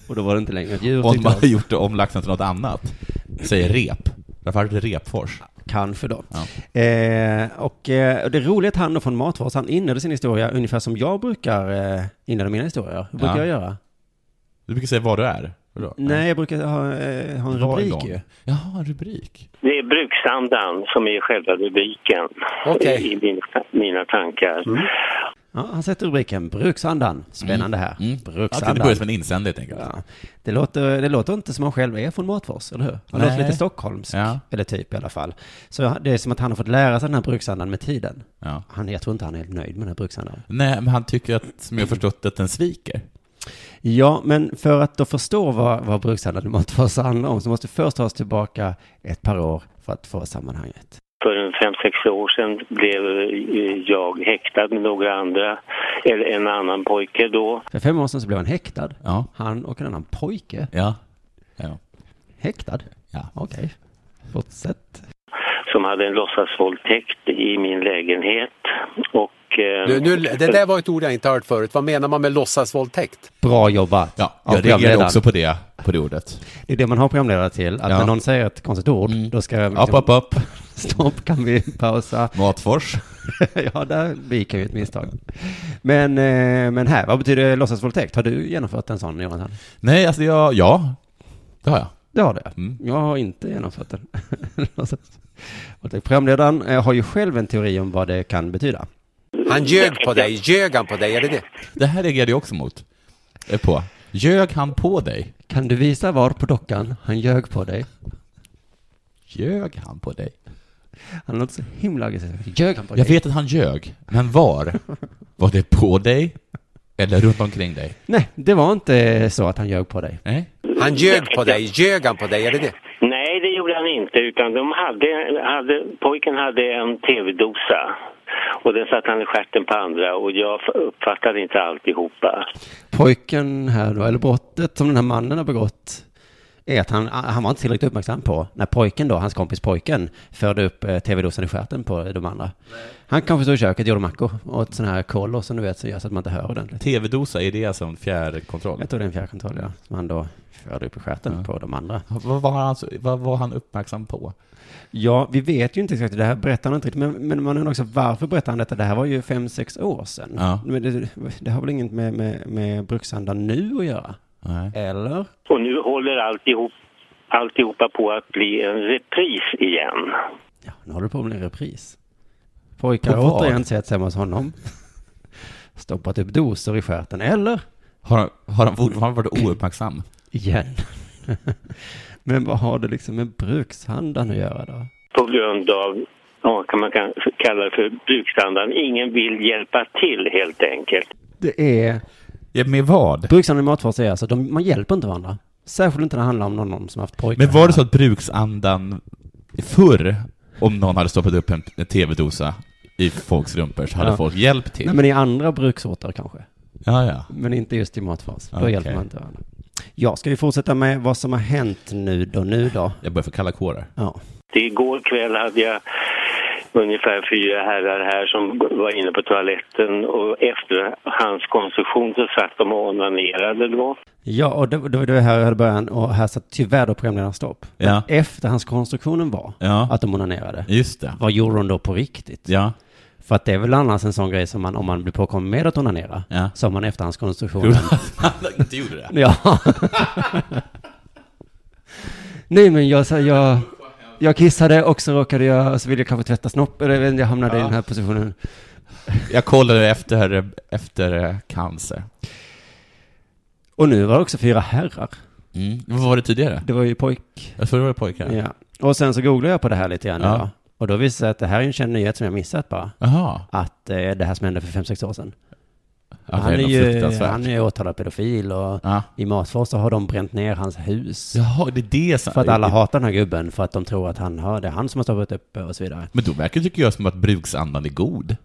F: Och då var det inte längre ett djur.
E: Om
F: tyckte
E: man
F: de.
E: har gjort det om laxen till något annat. Säger rep. Varför hade det Repfors?
F: Kanske då.
E: Ja.
F: Eh, och eh, det roliga är att han då från Matfors, han inledde sin historia ungefär som jag brukar eh, inleda mina historier. Hur brukar
E: Ja.
F: jag göra?
E: Du brukar säga vad du är. Vadå?
F: Nej, jag brukar ha, eh, ha en
E: Var
F: rubrik
E: igång.
F: ju.
E: Jaha, en rubrik.
N: Det är bruksandan som är själva rubriken
F: Okej. Mm.
N: i min, mina tankar.
F: Ja, han sätter rubriken Bruksandan.
E: Mm.
F: Spännande här.
E: Ja, det
F: Bruksandan.
E: börjar som en insändare helt enkelt.
F: Ja. det, låter, det låter inte som han själv är från Matfors, eller hur? Han
E: Nej.
F: låter lite stockholmsk, eller typ i alla fall. Så det är som att han har fått lära sig den här bruksandan med tiden. Han, jag tror inte han är helt nöjd med den här bruksandan.
E: Nej, men han tycker att, som jag har förstått att den sviker.
F: Ja, men för att då förstå vad, vad bruksandan i Matfors handlar om så måste vi först ta oss tillbaka ett par år för att få sammanhanget.
N: För en fem sex år sedan blev eh, jag häktad med några andra, eller en annan pojke då.
F: För fem år sedan så blev han häktad.
E: Ja.
F: Han och en annan pojke.
E: Ja. ja.
F: Häktad?
E: Ja.
F: Okej. Fortsätt.
N: som hade en låtsasvåldtäkt i min lägenhet. Och, eh,
O: Nu, nu, det där var ett ord jag inte hört förut. Vad menar man med låtsasvåldtäkt?
F: Bra jobbat. Ja,
E: jag reagerade också på det, på det ordet.
F: Det är det man har programledare till, att
E: Ja. Mm.
F: när någon säger ett konstigt ord, då ska jag... liksom
E: Upp, upp, upp.
F: Stopp, kan vi pausa?
E: Matfors.
F: ja, där begick jag ju ett misstag. Men, eh, men här, vad betyder låtsasvåldtäkt? Har du genomfört en sån, Jonathan?
E: Nej, alltså jag, ja. Det har jag.
F: Det har det.
E: Mm.
F: Jag har inte genomfört den. Låtsasvåldtäkt. Programledaren eh, har ju själv en teori om vad det kan betyda.
O: Han ljög på dig, ljög han på dig, är det det?
E: Det här reagerade jag också mot. eh, På. Ljög han på dig?
F: Kan du visa var på dockan han ljög på dig?
E: Ljög han på dig?
F: Han låter så himla aggressiv. Ljög han på
E: Jag
F: dig?
E: vet att han ljög, men var? Var det på dig? Eller runt omkring dig?
F: Nej, det var inte så att han ljög på dig.
E: Nej.
O: Han ljög på dig, ljög han på dig, är det det?
N: Nej, det gjorde han inte. Utan de hade, hade, pojken hade en tv-dosa. Och den satte han i stjärten på andra och jag f- uppfattade inte alltihopa.
F: Pojken här då, eller brottet som den här mannen har begått, är att han, han var inte tillräckligt uppmärksam på när pojken då, hans kompis pojken, förde upp eh, tv-dosan i stjärten på de andra. Han kanske stod i köket, gjorde mackor och ett sån här kollo som du vet så gör så att man inte hör ordentligt.
E: TV-dosa, är det alltså en fjärrkontroll?
F: Jag tror det är en fjärrkontroll, ja. Som han då förde upp i stjärten på de andra.
E: Vad var, han, så- vad var han uppmärksam på?
F: Ja, vi vet ju inte exakt, det här berättar han inte riktigt, men, men man undrar också varför berättar han detta? Det här var ju fem, sex år sedan.
E: Ja.
F: Men det, det har väl inget med, med, med brukshandeln nu att göra? Eller?
N: Och nu håller alltihop, alltihopa på att bli en repris igen.
F: Nu håller det på med en repris. Pojkar
E: På
F: har
E: vad?
F: återigen sett hemma hos honom. Stoppat upp dosor i stjärten, eller?
E: Har, har han fortfarande varit ouppmärksam?
F: Igen. men vad har det liksom med brukshandeln att göra då?
N: På grund av, ja, kan man kan kalla det för bruksandan. Ingen vill hjälpa till helt enkelt.
F: Det är...
E: med vad?
F: Brukshandeln i Matfors är alltså, de, man hjälper inte varandra. Särskilt inte när det handlar om någon, någon som haft pojkar.
E: Men var det så att bruksandan förr, om någon hade stoppat upp en, en TV-dosa i folks rumpor, så hade
F: Ja.
E: folk hjälpt till?
F: Nej, men i andra bruksorter kanske.
E: Ja, ja.
F: Men inte just i Matfors. Då
E: Okej.
F: hjälper man inte varandra. Ja, ska vi fortsätta med vad som har hänt nu då, nu då?
E: Jag börjar få kalla kårar.
F: Ja.
N: Igår kväll hade jag ungefär fyra herrar här som var inne på toaletten och efter hans konsumtion så satt de och onanerade då.
F: Ja, och det, det var det här jag hade början och här satt tyvärr då programledaren stopp. Men
E: Ja.
F: Efterhandskonstruktionen var
E: Ja.
F: att de onanerade.
E: Just det.
F: Vad gjorde de då på riktigt?
E: Ja.
F: För att det är väl annars en sån grej som man, om man blir påkommen med att onanera,
E: Ja.
F: så har man efterhandskonstruktionen.
E: Gjorde han att inte gjorde det?
F: Ja. Nej, men jag, sa- jag, jag kissade och så råkade jag, så ville jag kanske tvätta snopp, eller jag hamnade i den här positionen.
E: Jag kollade efter, efter eh, cancer.
F: Och nu var det också fyra herrar.
E: Mm. Vad var det tidigare?
F: Det var ju pojk.
E: Jag tror det var pojkar.
F: Ja. Och sen så googlade jag på det här lite grann
E: Ja.
F: idag. Och då visade det sig att det här är en känd nyhet som jag missat bara.
E: Aha.
F: Att eh, det här som hände för fem sex år sedan.
E: Ja, det
F: han,
E: är
F: är
E: något
F: ju,
E: fruktansvärt.
F: han är ju åtalad pedofil och i Matfors så har de bränt ner hans hus.
E: Jaha, det är det som...
F: För att alla hatar den här gubben för att de tror att han har, det är han som har stoppat upp och så vidare.
E: Men då verkar det, tycker jag som att bruksandan är god.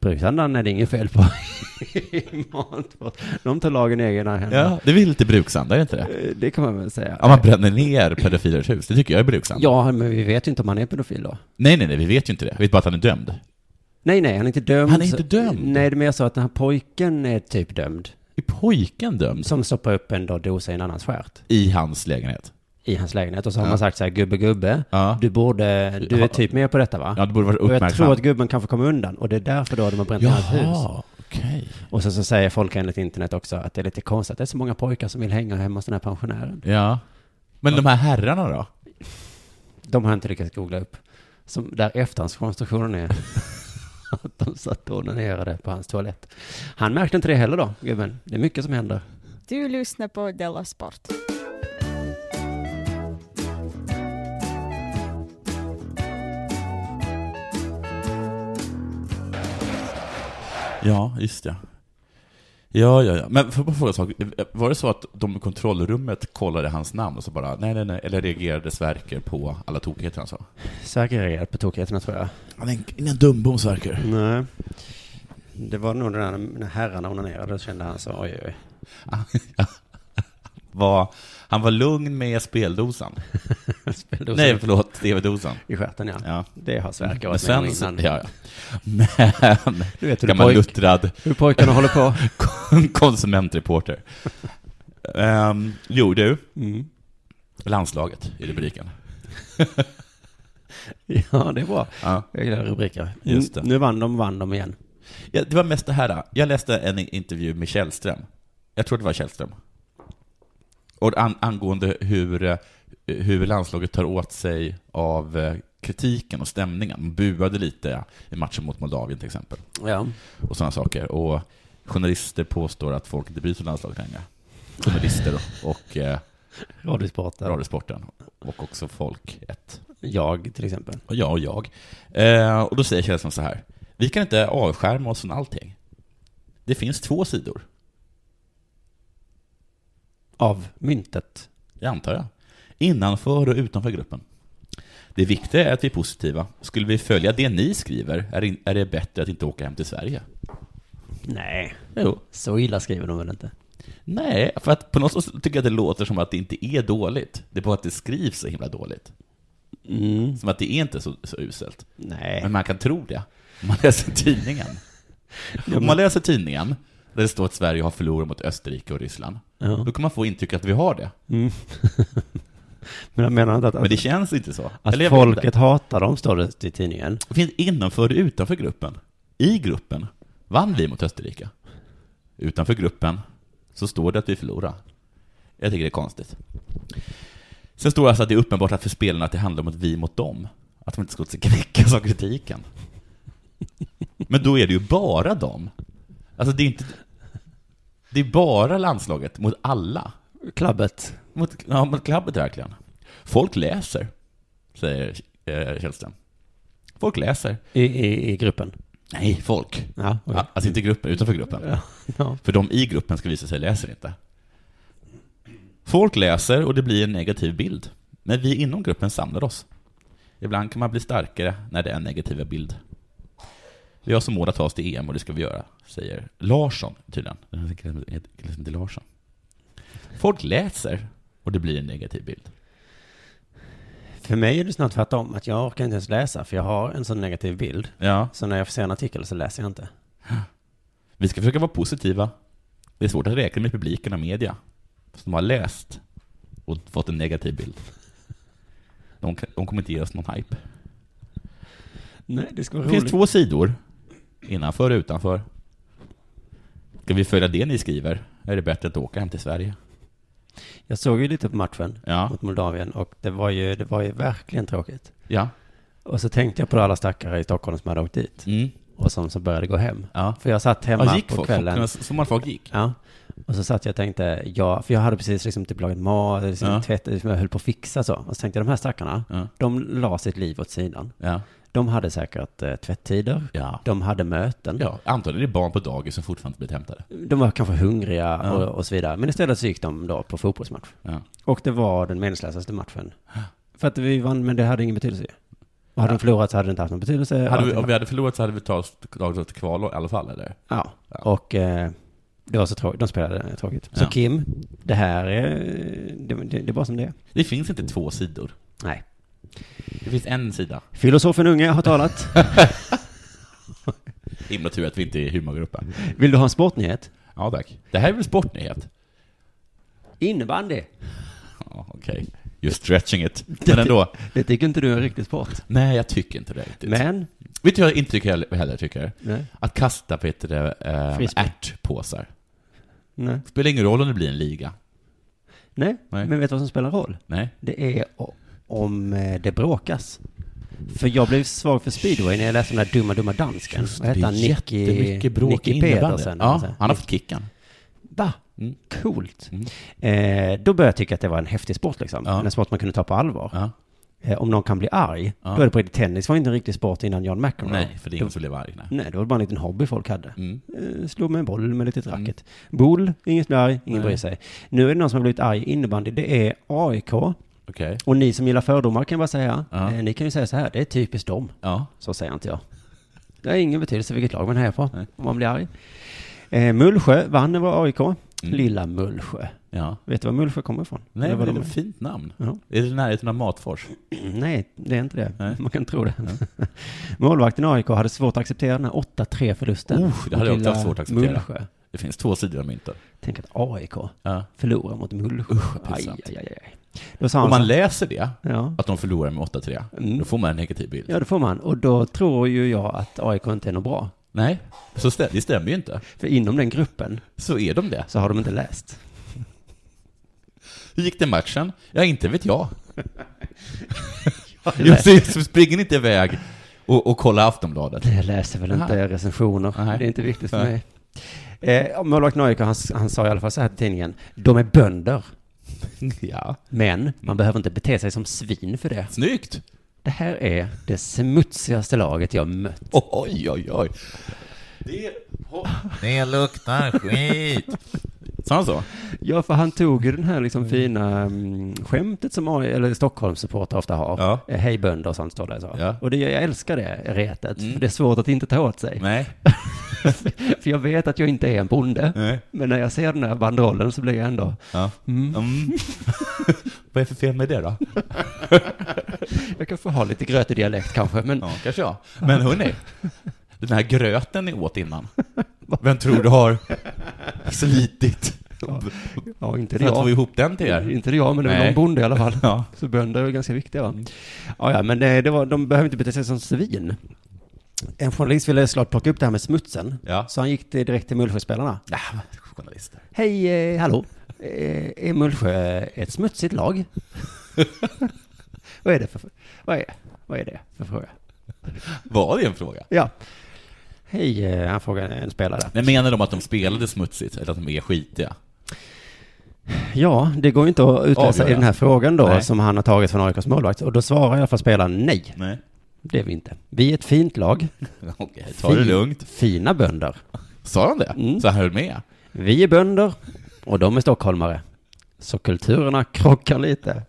F: Bruksandan är det inget fel på. I Matfors. de tar lagen i egna händer.
E: Ja, det är väl lite bruksanda, är det inte det?
F: Eh, Det kan man väl säga.
E: Om man bränner ner pedofilers hus, det tycker jag är bruksanda.
F: Ja, men vi vet ju inte om han är pedofil då.
E: Nej, nej, nej, vi vet ju inte det. Vi vet bara att han är dömd.
F: Nej, nej, han är inte dömd.
E: Han är inte dömd?
F: Nej, det är mer så att den här pojken är typ dömd.
E: Är pojken dömd?
F: Som stoppar upp en då dosa i en annans stjärt.
E: I hans lägenhet.
F: I hans lägenhet. Och så har
E: Ja.
F: man sagt så här, gubbe, gubbe. Du borde, du är typ med på detta va?
E: Ja, du borde vara
F: Och jag
E: uppmärksam.
F: tror att gubben kanske kommer undan. Och det är därför då de har bränt ner hans
E: Jaha,
F: hus.
E: okej.
F: Och sen så säger folk enligt internet också att det är lite konstigt att det är så många pojkar som vill hänga hemma hos den här pensionären.
E: Ja. Men de här herrarna då?
F: De har jag inte lyckats googla upp. Som där efterhandskonstruktionen är. att de satt och onanerade på hans toalett. Han märkte inte det heller då, gubben. Det är mycket som händer.
P: Du lyssnar på Della Sport.
E: Ja, just det. Ja, ja, ja. Men får jag bara fråga en sak? Var det så att de i kontrollrummet kollade hans namn och så bara, nej, nej, nej, eller reagerade Sverker på alla tokigheter han sa?
F: Säker reagerat på tokigheterna tror jag.
E: Han är ingen dumbom, Sverker.
F: Nej. Det var nog när, när herrarna onanerade, då kände han så oj, oj.
E: Var, han var lugn med speldosan.
F: Speldosan.
E: Nej, förlåt, tv-dosan.
F: I stjärten, ja. Det har Sverker
E: Men
F: varit med om
E: sen, så-
F: innan.
E: ja, ja. Men,
F: Du vet hur
E: gammal
F: pojk-
E: luttrad.
F: hur pojkarna håller på.
E: Konsumentreporter. Um, jo, du.
F: Mm.
E: Landslaget i rubriken.
F: Ja, det är bra.
E: Ja.
F: Jag gillar rubriker.
E: Just det.
F: Nu vann de, vann de igen.
E: Ja, det var mest det här. då. Jag läste en intervju med Källström. Jag tror det var Källström. Och an, angående hur, eh, hur landslaget tar åt sig av eh, kritiken och stämningen. De buade lite i matchen mot Moldavien till exempel.
F: Ja.
E: Och sådana saker. Och journalister påstår att folk inte bryr sig om landslaget längre. journalister och eh,
F: Radiosporten.
E: Radiosporten. Och också folk ett.
F: Jag till exempel.
E: Och jag och jag. Eh, och då säger Kjellström så här. Vi kan inte avskärma oss från allting. Det finns två sidor.
F: Av myntet?
E: Jag antar jag. Innanför och utanför gruppen. Det viktiga är att vi är positiva. Skulle vi följa det ni skriver är in- är det bättre att inte åka hem till Sverige.
F: Nej.
E: Jo.
F: Så illa skriver de väl inte?
E: Nej, för att på något sätt tycker jag att det låter som att det inte är dåligt. Det är bara att det skrivs så himla dåligt.
F: Mm.
E: Som att det är inte så, så uselt.
F: Nej.
E: Men man kan tro det. Om man läser tidningen. Om man läser tidningen, där det står att Sverige har förlorat mot Österrike och Ryssland,
F: Ja.
E: då kan man få intrycket att vi har det.
F: Men jag menar inte att...
E: Men det känns inte så.
F: Att
E: Eller jag vet
F: folket
E: inte.
F: hatar dem, står det i tidningen.
E: Det finns innanför och utanför gruppen. I gruppen vann vi mot Österrike. Utanför gruppen så står det att vi förlorade. Jag tycker det är konstigt. Sen står det alltså att det är uppenbart att för spelarna att det handlar om att vi mot dem. Att de inte ska låta sig knäckas av kritiken. Men då är det ju bara dem. Alltså det är inte... Det är bara landslaget mot alla.
F: Klabbet.
E: Mot, ja, mot klabbet verkligen. Folk läser, säger eh, Källström. Folk läser.
F: I, i, i gruppen?
E: Nej, folk.
F: Ja, okej.
E: Ja, Alltså inte gruppen, utanför gruppen.
F: Ja, ja.
E: För de i gruppen ska visa sig läser inte. Folk läser och det blir en negativ bild. Men vi inom gruppen samlar oss. Ibland kan man bli starkare när det är en negativ bild. Vi har som mål att ta oss till EM och det ska vi göra, säger Larsson tydligen. Den här killen heter- som heter Larsson. Folk läser och det blir en negativ bild.
F: För mig är det snart tvärtom, att jag orkar inte ens läsa, för jag har en sån negativ bild.
E: Ja.
F: Så när jag får se en artikel så läser jag inte.
E: Vi ska försöka vara positiva. Det är svårt att räkna med publiken och media som har läst och fått en negativ bild. De, kan- de kommer inte ge oss någon hype.
F: Nej, det ska
E: Det finns två sidor. Innanför och utanför. Ska vi följa det ni skriver? Är det bättre att åka hem till Sverige?
F: Jag såg ju lite på matchen
E: Ja.
F: mot Moldavien och det var, ju, det var ju verkligen tråkigt.
E: Ja.
F: Och så tänkte jag på alla stackare i Stockholm som hade åkt dit. Och som så började gå hem. För jag satt hemma
E: Mm. Ja, gick
F: på
E: folk?
F: kvällen.
E: Folk- som att folk gick?
F: Ja. Och så satt jag och tänkte, ja, för jag hade precis liksom typ lagat mat, liksom
E: Ja.
F: tvätt, liksom jag höll på att fixa så. Och så tänkte jag, de här stackarna, de la sitt liv åt sidan.
E: Ja.
F: De hade säkert eh, tvättider, de hade möten.
E: Ja, antagligen är det barn på dagis som fortfarande inte blivit hämtade.
F: De var kanske hungriga
E: Ja.
F: och, och så vidare. Men istället så gick de då på fotbollsmatch.
E: Ja.
F: Och det var den meningslösaste matchen. För att vi vann, men det hade ingen betydelse. Och hade de förlorat så hade det inte haft någon betydelse. Och
E: Hade vi,
F: allting
E: om vi hade förlorat så hade vi tagit tagit oss till kval i alla fall, eller?
F: Ja, och eh, det var så tråkigt. De spelade tråkigt. Så
E: Ja.
F: Kim, det här är... Det, det, det är bara som det är.
E: Det finns inte två sidor.
F: Nej.
E: Det finns en sida.
F: Filosofen Unge har talat.
E: Himla tur att vi inte är i humorgruppen.
F: Vill du ha en sportnyhet?
E: Ja, tack. Det här är väl sportnyhet?
F: Innebandy.
E: Ja, okej. You're stretching it. Men ändå.
F: Det tycker inte du är en riktig sport.
E: Nej, jag tycker inte det riktigt.
F: Men?
E: Vet du vad jag inte tycker heller- heller tycker?
F: Nej.
E: Att kasta, vad heter det, eh,
F: Frisbee.
E: ärtpåsar.
F: Nej.
E: Spelar ingen roll om det blir en liga.
F: Nej,
E: Nej.
F: men vet du vad som spelar roll?
E: Nej.
F: Det är o- om eh, det bråkas. För jag blev svag för speedway när jag läste den där dumma, dumma dansken.
E: Just
F: Vad
E: det,
F: heter han?
E: det är
F: Nicky,
E: jättemycket bråk i
F: Nicky
E: innebandy.
F: Petersen.
E: Ja,
F: Alltså,
E: han Mm. har
F: Nick-
E: fått kicken.
F: Va? Coolt. Eh, då började jag tycka att det var en häftig sport liksom. En sport man kunde ta på allvar. Eh, om någon kan bli arg,
E: Ja.
F: då är det på riktigt. Tennis var inte en riktig sport innan John McEnroe.
E: Nej, för det är ingen
F: Då-
E: som blev arg. Nej.
F: Nej, det var bara en liten hobby folk hade.
E: Mm.
F: Eh, slog med en boll med lite racket. Boll, inget blir arg, ingen
E: Nej.
F: bryr sig. Nu är det någon som har blivit arg i innebandy. Det är AIK.
E: Okej.
F: Och ni som gillar fördomar kan jag bara säga,
E: Ja.
F: eh, ni kan ju säga så här, det är typiskt dem. Så säger inte jag. Det har ingen betydelse vilket lag man hejar på, om man blir arg. Eh, Mullsjö vann över AIK. Lilla Mullsjö.
E: Mm. Ja.
F: Vet du var Mullsjö kommer ifrån?
E: Nej,
F: Eller
E: men
F: var
E: det är
F: de
E: ett fint namn.
F: Ja.
E: Är det i närheten av Matfors?
F: Nej, det är inte det. Man kan tro det. Målvakten i AIK hade svårt att acceptera den här 8-3 förlusten.
E: Oh, det hade jag också
F: Lilla
E: haft svårt att acceptera.
F: Mullsjö.
E: Det finns två sidor av myntet.
F: Tänk att AIK
E: Ja.
F: förlorar mot Mullsjö.
E: Usch, vad
F: aj,
E: pinsamt.
F: aj, aj, aj. Då sa han
E: Om man
F: så-
E: läser det,
F: Ja.
E: att de förlorar med 8-3, då får man en negativ bild.
F: Ja, det får man. Och då tror ju jag att AIK inte är något bra.
E: Nej, så stä- det stämmer ju inte.
F: För inom den gruppen
E: så är de det.
F: Så har de inte läst.
E: Hur gick det matchen? Ja, inte vet jag.
F: Jag
E: Just
F: läser-
E: det, så springer ni inte iväg och, och kollar Aftonbladet.
F: Jag läser väl inte recensioner. Det är inte viktigt för
E: Nej.
F: mig. Eh, Målvakt Neuker, han, han sa i alla fall så här till tidningen. De är bönder.
E: Ja.
F: Men man behöver inte bete sig som svin för det.
E: Snyggt!
F: Det här är det smutsigaste laget jag mött.
E: Oj, oj, oj. Det luktar skit. Sa han så?
F: Ja, för han tog ju den här liksom fina mm, skämtet som AI, eller Stockholmssupportrar ofta har. Eh, Hej bönder och sånt står det så. Och det, jag älskar det retet, för det är svårt att inte ta åt sig.
E: Mm. Nej.
F: för jag vet att jag inte är en bonde.
E: Nej.
F: Men när jag ser den här banderollen så blir jag ändå...
E: Ja. Mm. Vad är för fel med det då?
F: jag kan få ha lite grötig dialekt kanske, men... Ja,
E: kanske jag. Men hörni, den här gröten ni åt innan, vem tror du har slitit?
F: Ja, inte det
E: För att
F: jag.
E: få ihop den till er?
F: Inte det jag, men det var
E: Nej. Mm.
F: någon bonde i alla fall.
E: Ja.
F: Så bönder är ganska viktiga va? Ja, ja men eh, det var, de behöver inte bete sig som svin. En journalist ville såklart plocka upp det här med smutsen. Så han gick till- direkt till Mullsjöspelarna.
E: Ja, journalister.
F: Hej, eh, hallå. Eh, är Mullsjö ett smutsigt lag? vad är det för vad är, vad är det för fråga?
E: Var det en fråga?
F: Ja. Hej, eh, han frågade en spelare.
E: Men menar de att de spelade smutsigt eller att de är skitiga?
F: Ja, det går ju inte att utläsa
E: Avgöra.
F: i den här frågan då
E: Nej.
F: som han har tagit från AIKs målvakt. Och då svarar i alla fall spelaren nej.
E: Nej.
F: Det är vi inte. Vi är ett fint lag.
E: Okej, ta det
F: Fin-
E: lugnt.
F: Fina bönder.
E: Sa han det?
F: Mm.
E: Så han höll med?
F: Vi är bönder och de är stockholmare. Så kulturerna krockar lite.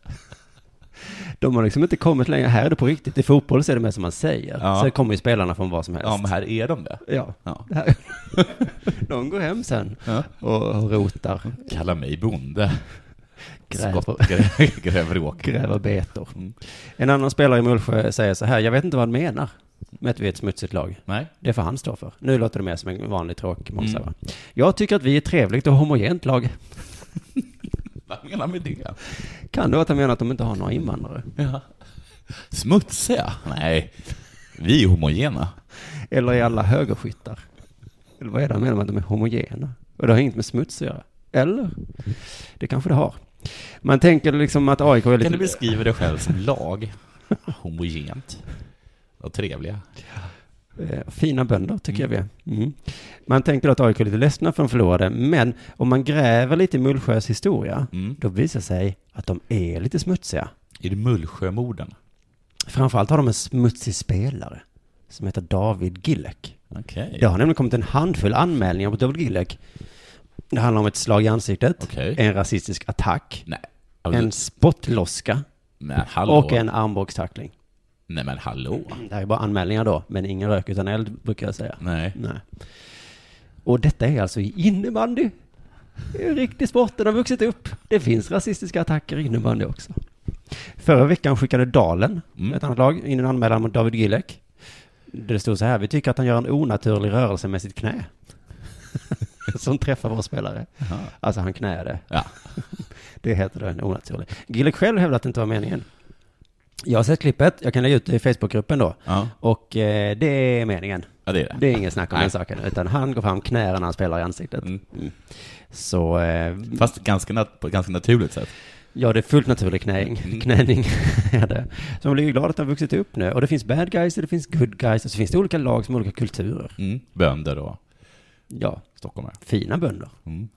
F: De har liksom inte kommit längre. Här är det på riktigt. I fotboll så är det mer som man säger.
E: Ja.
F: Så kommer ju spelarna från vad som helst.
E: Ja, men här är de det.
F: Ja.
E: ja.
F: Det här- De går hem sen och rotar.
E: Kalla mig bonde.
F: Gräver.
E: Skott- grä- Gräver åker.
F: gräver betor.
E: Mm.
F: En annan spelare i Mullsjö säger så här, jag vet inte vad han menar med att vi är ett smutsigt lag.
E: Nej.
F: Det får han stå för. Nu låter det mer som en vanlig tråkmånsa,
E: Mm.
F: va? Jag tycker att vi är ett trevligt och homogent lag.
E: Vad menar han med det?
F: Kan det vara att han menar att de inte har några invandrare?
E: Ja. Smutsiga? Nej, vi är homogena.
F: Eller är alla högerskyttar? Eller vad är det han menar med att de är homogena? Och det har inget med smuts att göra. Eller? Det kanske det har. Man tänker liksom att AIK är lite...
E: Kan du beskriva dig själv som lag? Homogent. Och trevliga.
F: Eh, Fina bönder tycker jag vi är. Mm. Man tänker att AIK är lite ledsna för att de förlorade, men om man gräver lite i Mullsjös historia,
E: Mm.
F: då visar sig att de är lite smutsiga.
E: Är det Mullsjömorden?
F: Framförallt har de en smutsig spelare som heter David Gillek.
E: Okej.
F: Det har nämligen kommit en handfull anmälningar mot David Gillek. Det handlar om ett slag i ansiktet, en rasistisk attack, en spottloska
E: Men hallå.
F: och en armbågstackling.
E: Nej men hallå.
F: Det här är bara anmälningar då, men ingen rök utan eld brukar jag säga.
E: Nej.
F: Nej. Och detta är alltså i innebandy. Det är en riktig sport, den har vuxit upp. Det finns rasistiska attacker i innebandy också. Förra veckan skickade Dalen, ett annat lag, in en anmälan mot David Gillek. Det stod så här, vi tycker att han gör en onaturlig rörelse med sitt knä. Som träffar vår spelare.
E: Jaha.
F: Alltså han knäade.
E: Ja.
F: Det heter då en onaturlig. Gillek själv hävdade att det inte var meningen. Jag har sett klippet, jag kan lägga ut det i Facebookgruppen då. Och eh, det är meningen.
E: Ja, det är det.
F: inget snack om den saken, utan han går fram knäar när han spelar i ansiktet. Mm. Så... Eh,
E: Fast ganska nat- på ett ganska naturligt sätt.
F: Ja, det är fullt naturlig knäing.
E: Mm.
F: knäning är det. Så man blir ju glad att den har vuxit upp nu. Och det finns bad guys och det finns good guys och så finns det olika lag som har olika kulturer.
E: Mm. Bönder och
F: Ja.
E: stockholmare.
F: Fina bönder.
E: Mm.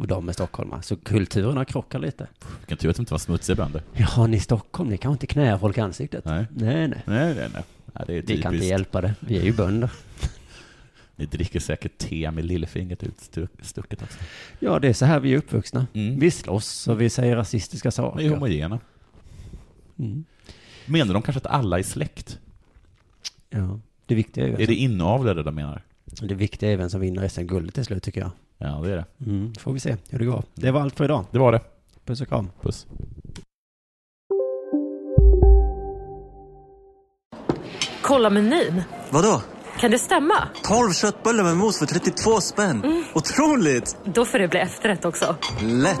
F: Och de är stockholmare. Så kulturerna krockar lite.
E: Vilken tur att de inte var smutsiga bönder.
F: Jaha, ni i Stockholm, ni kan inte knäa folk i ansiktet.
E: Nej.
F: Nej, nej.
E: Nej, nej, nej. Ja, det är
F: Vi kan inte
E: typiskt.
F: hjälpa det. Vi är ju bönder.
E: Ni dricker säkert te med lillfingret utstucket också. Mm.
F: Ja, det är så här vi är uppvuxna. Vi slåss och vi säger rasistiska saker.
E: Ni är homogena. Menar de kanske att alla är släkt?
F: Ja, det viktiga är ju...
E: Är det inavlade de menar?
F: Det viktiga är vem som vinner SM-guldet till slut tycker jag.
E: Ja, det är det.
F: Mm, får vi se hur det går. Det var allt för idag.
E: Det var det.
F: Puss och kram.
E: Puss.
Q: Kolla menyn.
R: Vadå?
Q: Kan det stämma?
R: 12 köttbullar med mos för 32 spänn. Otroligt!
Q: Då får det bli efterrätt också.
R: Lätt!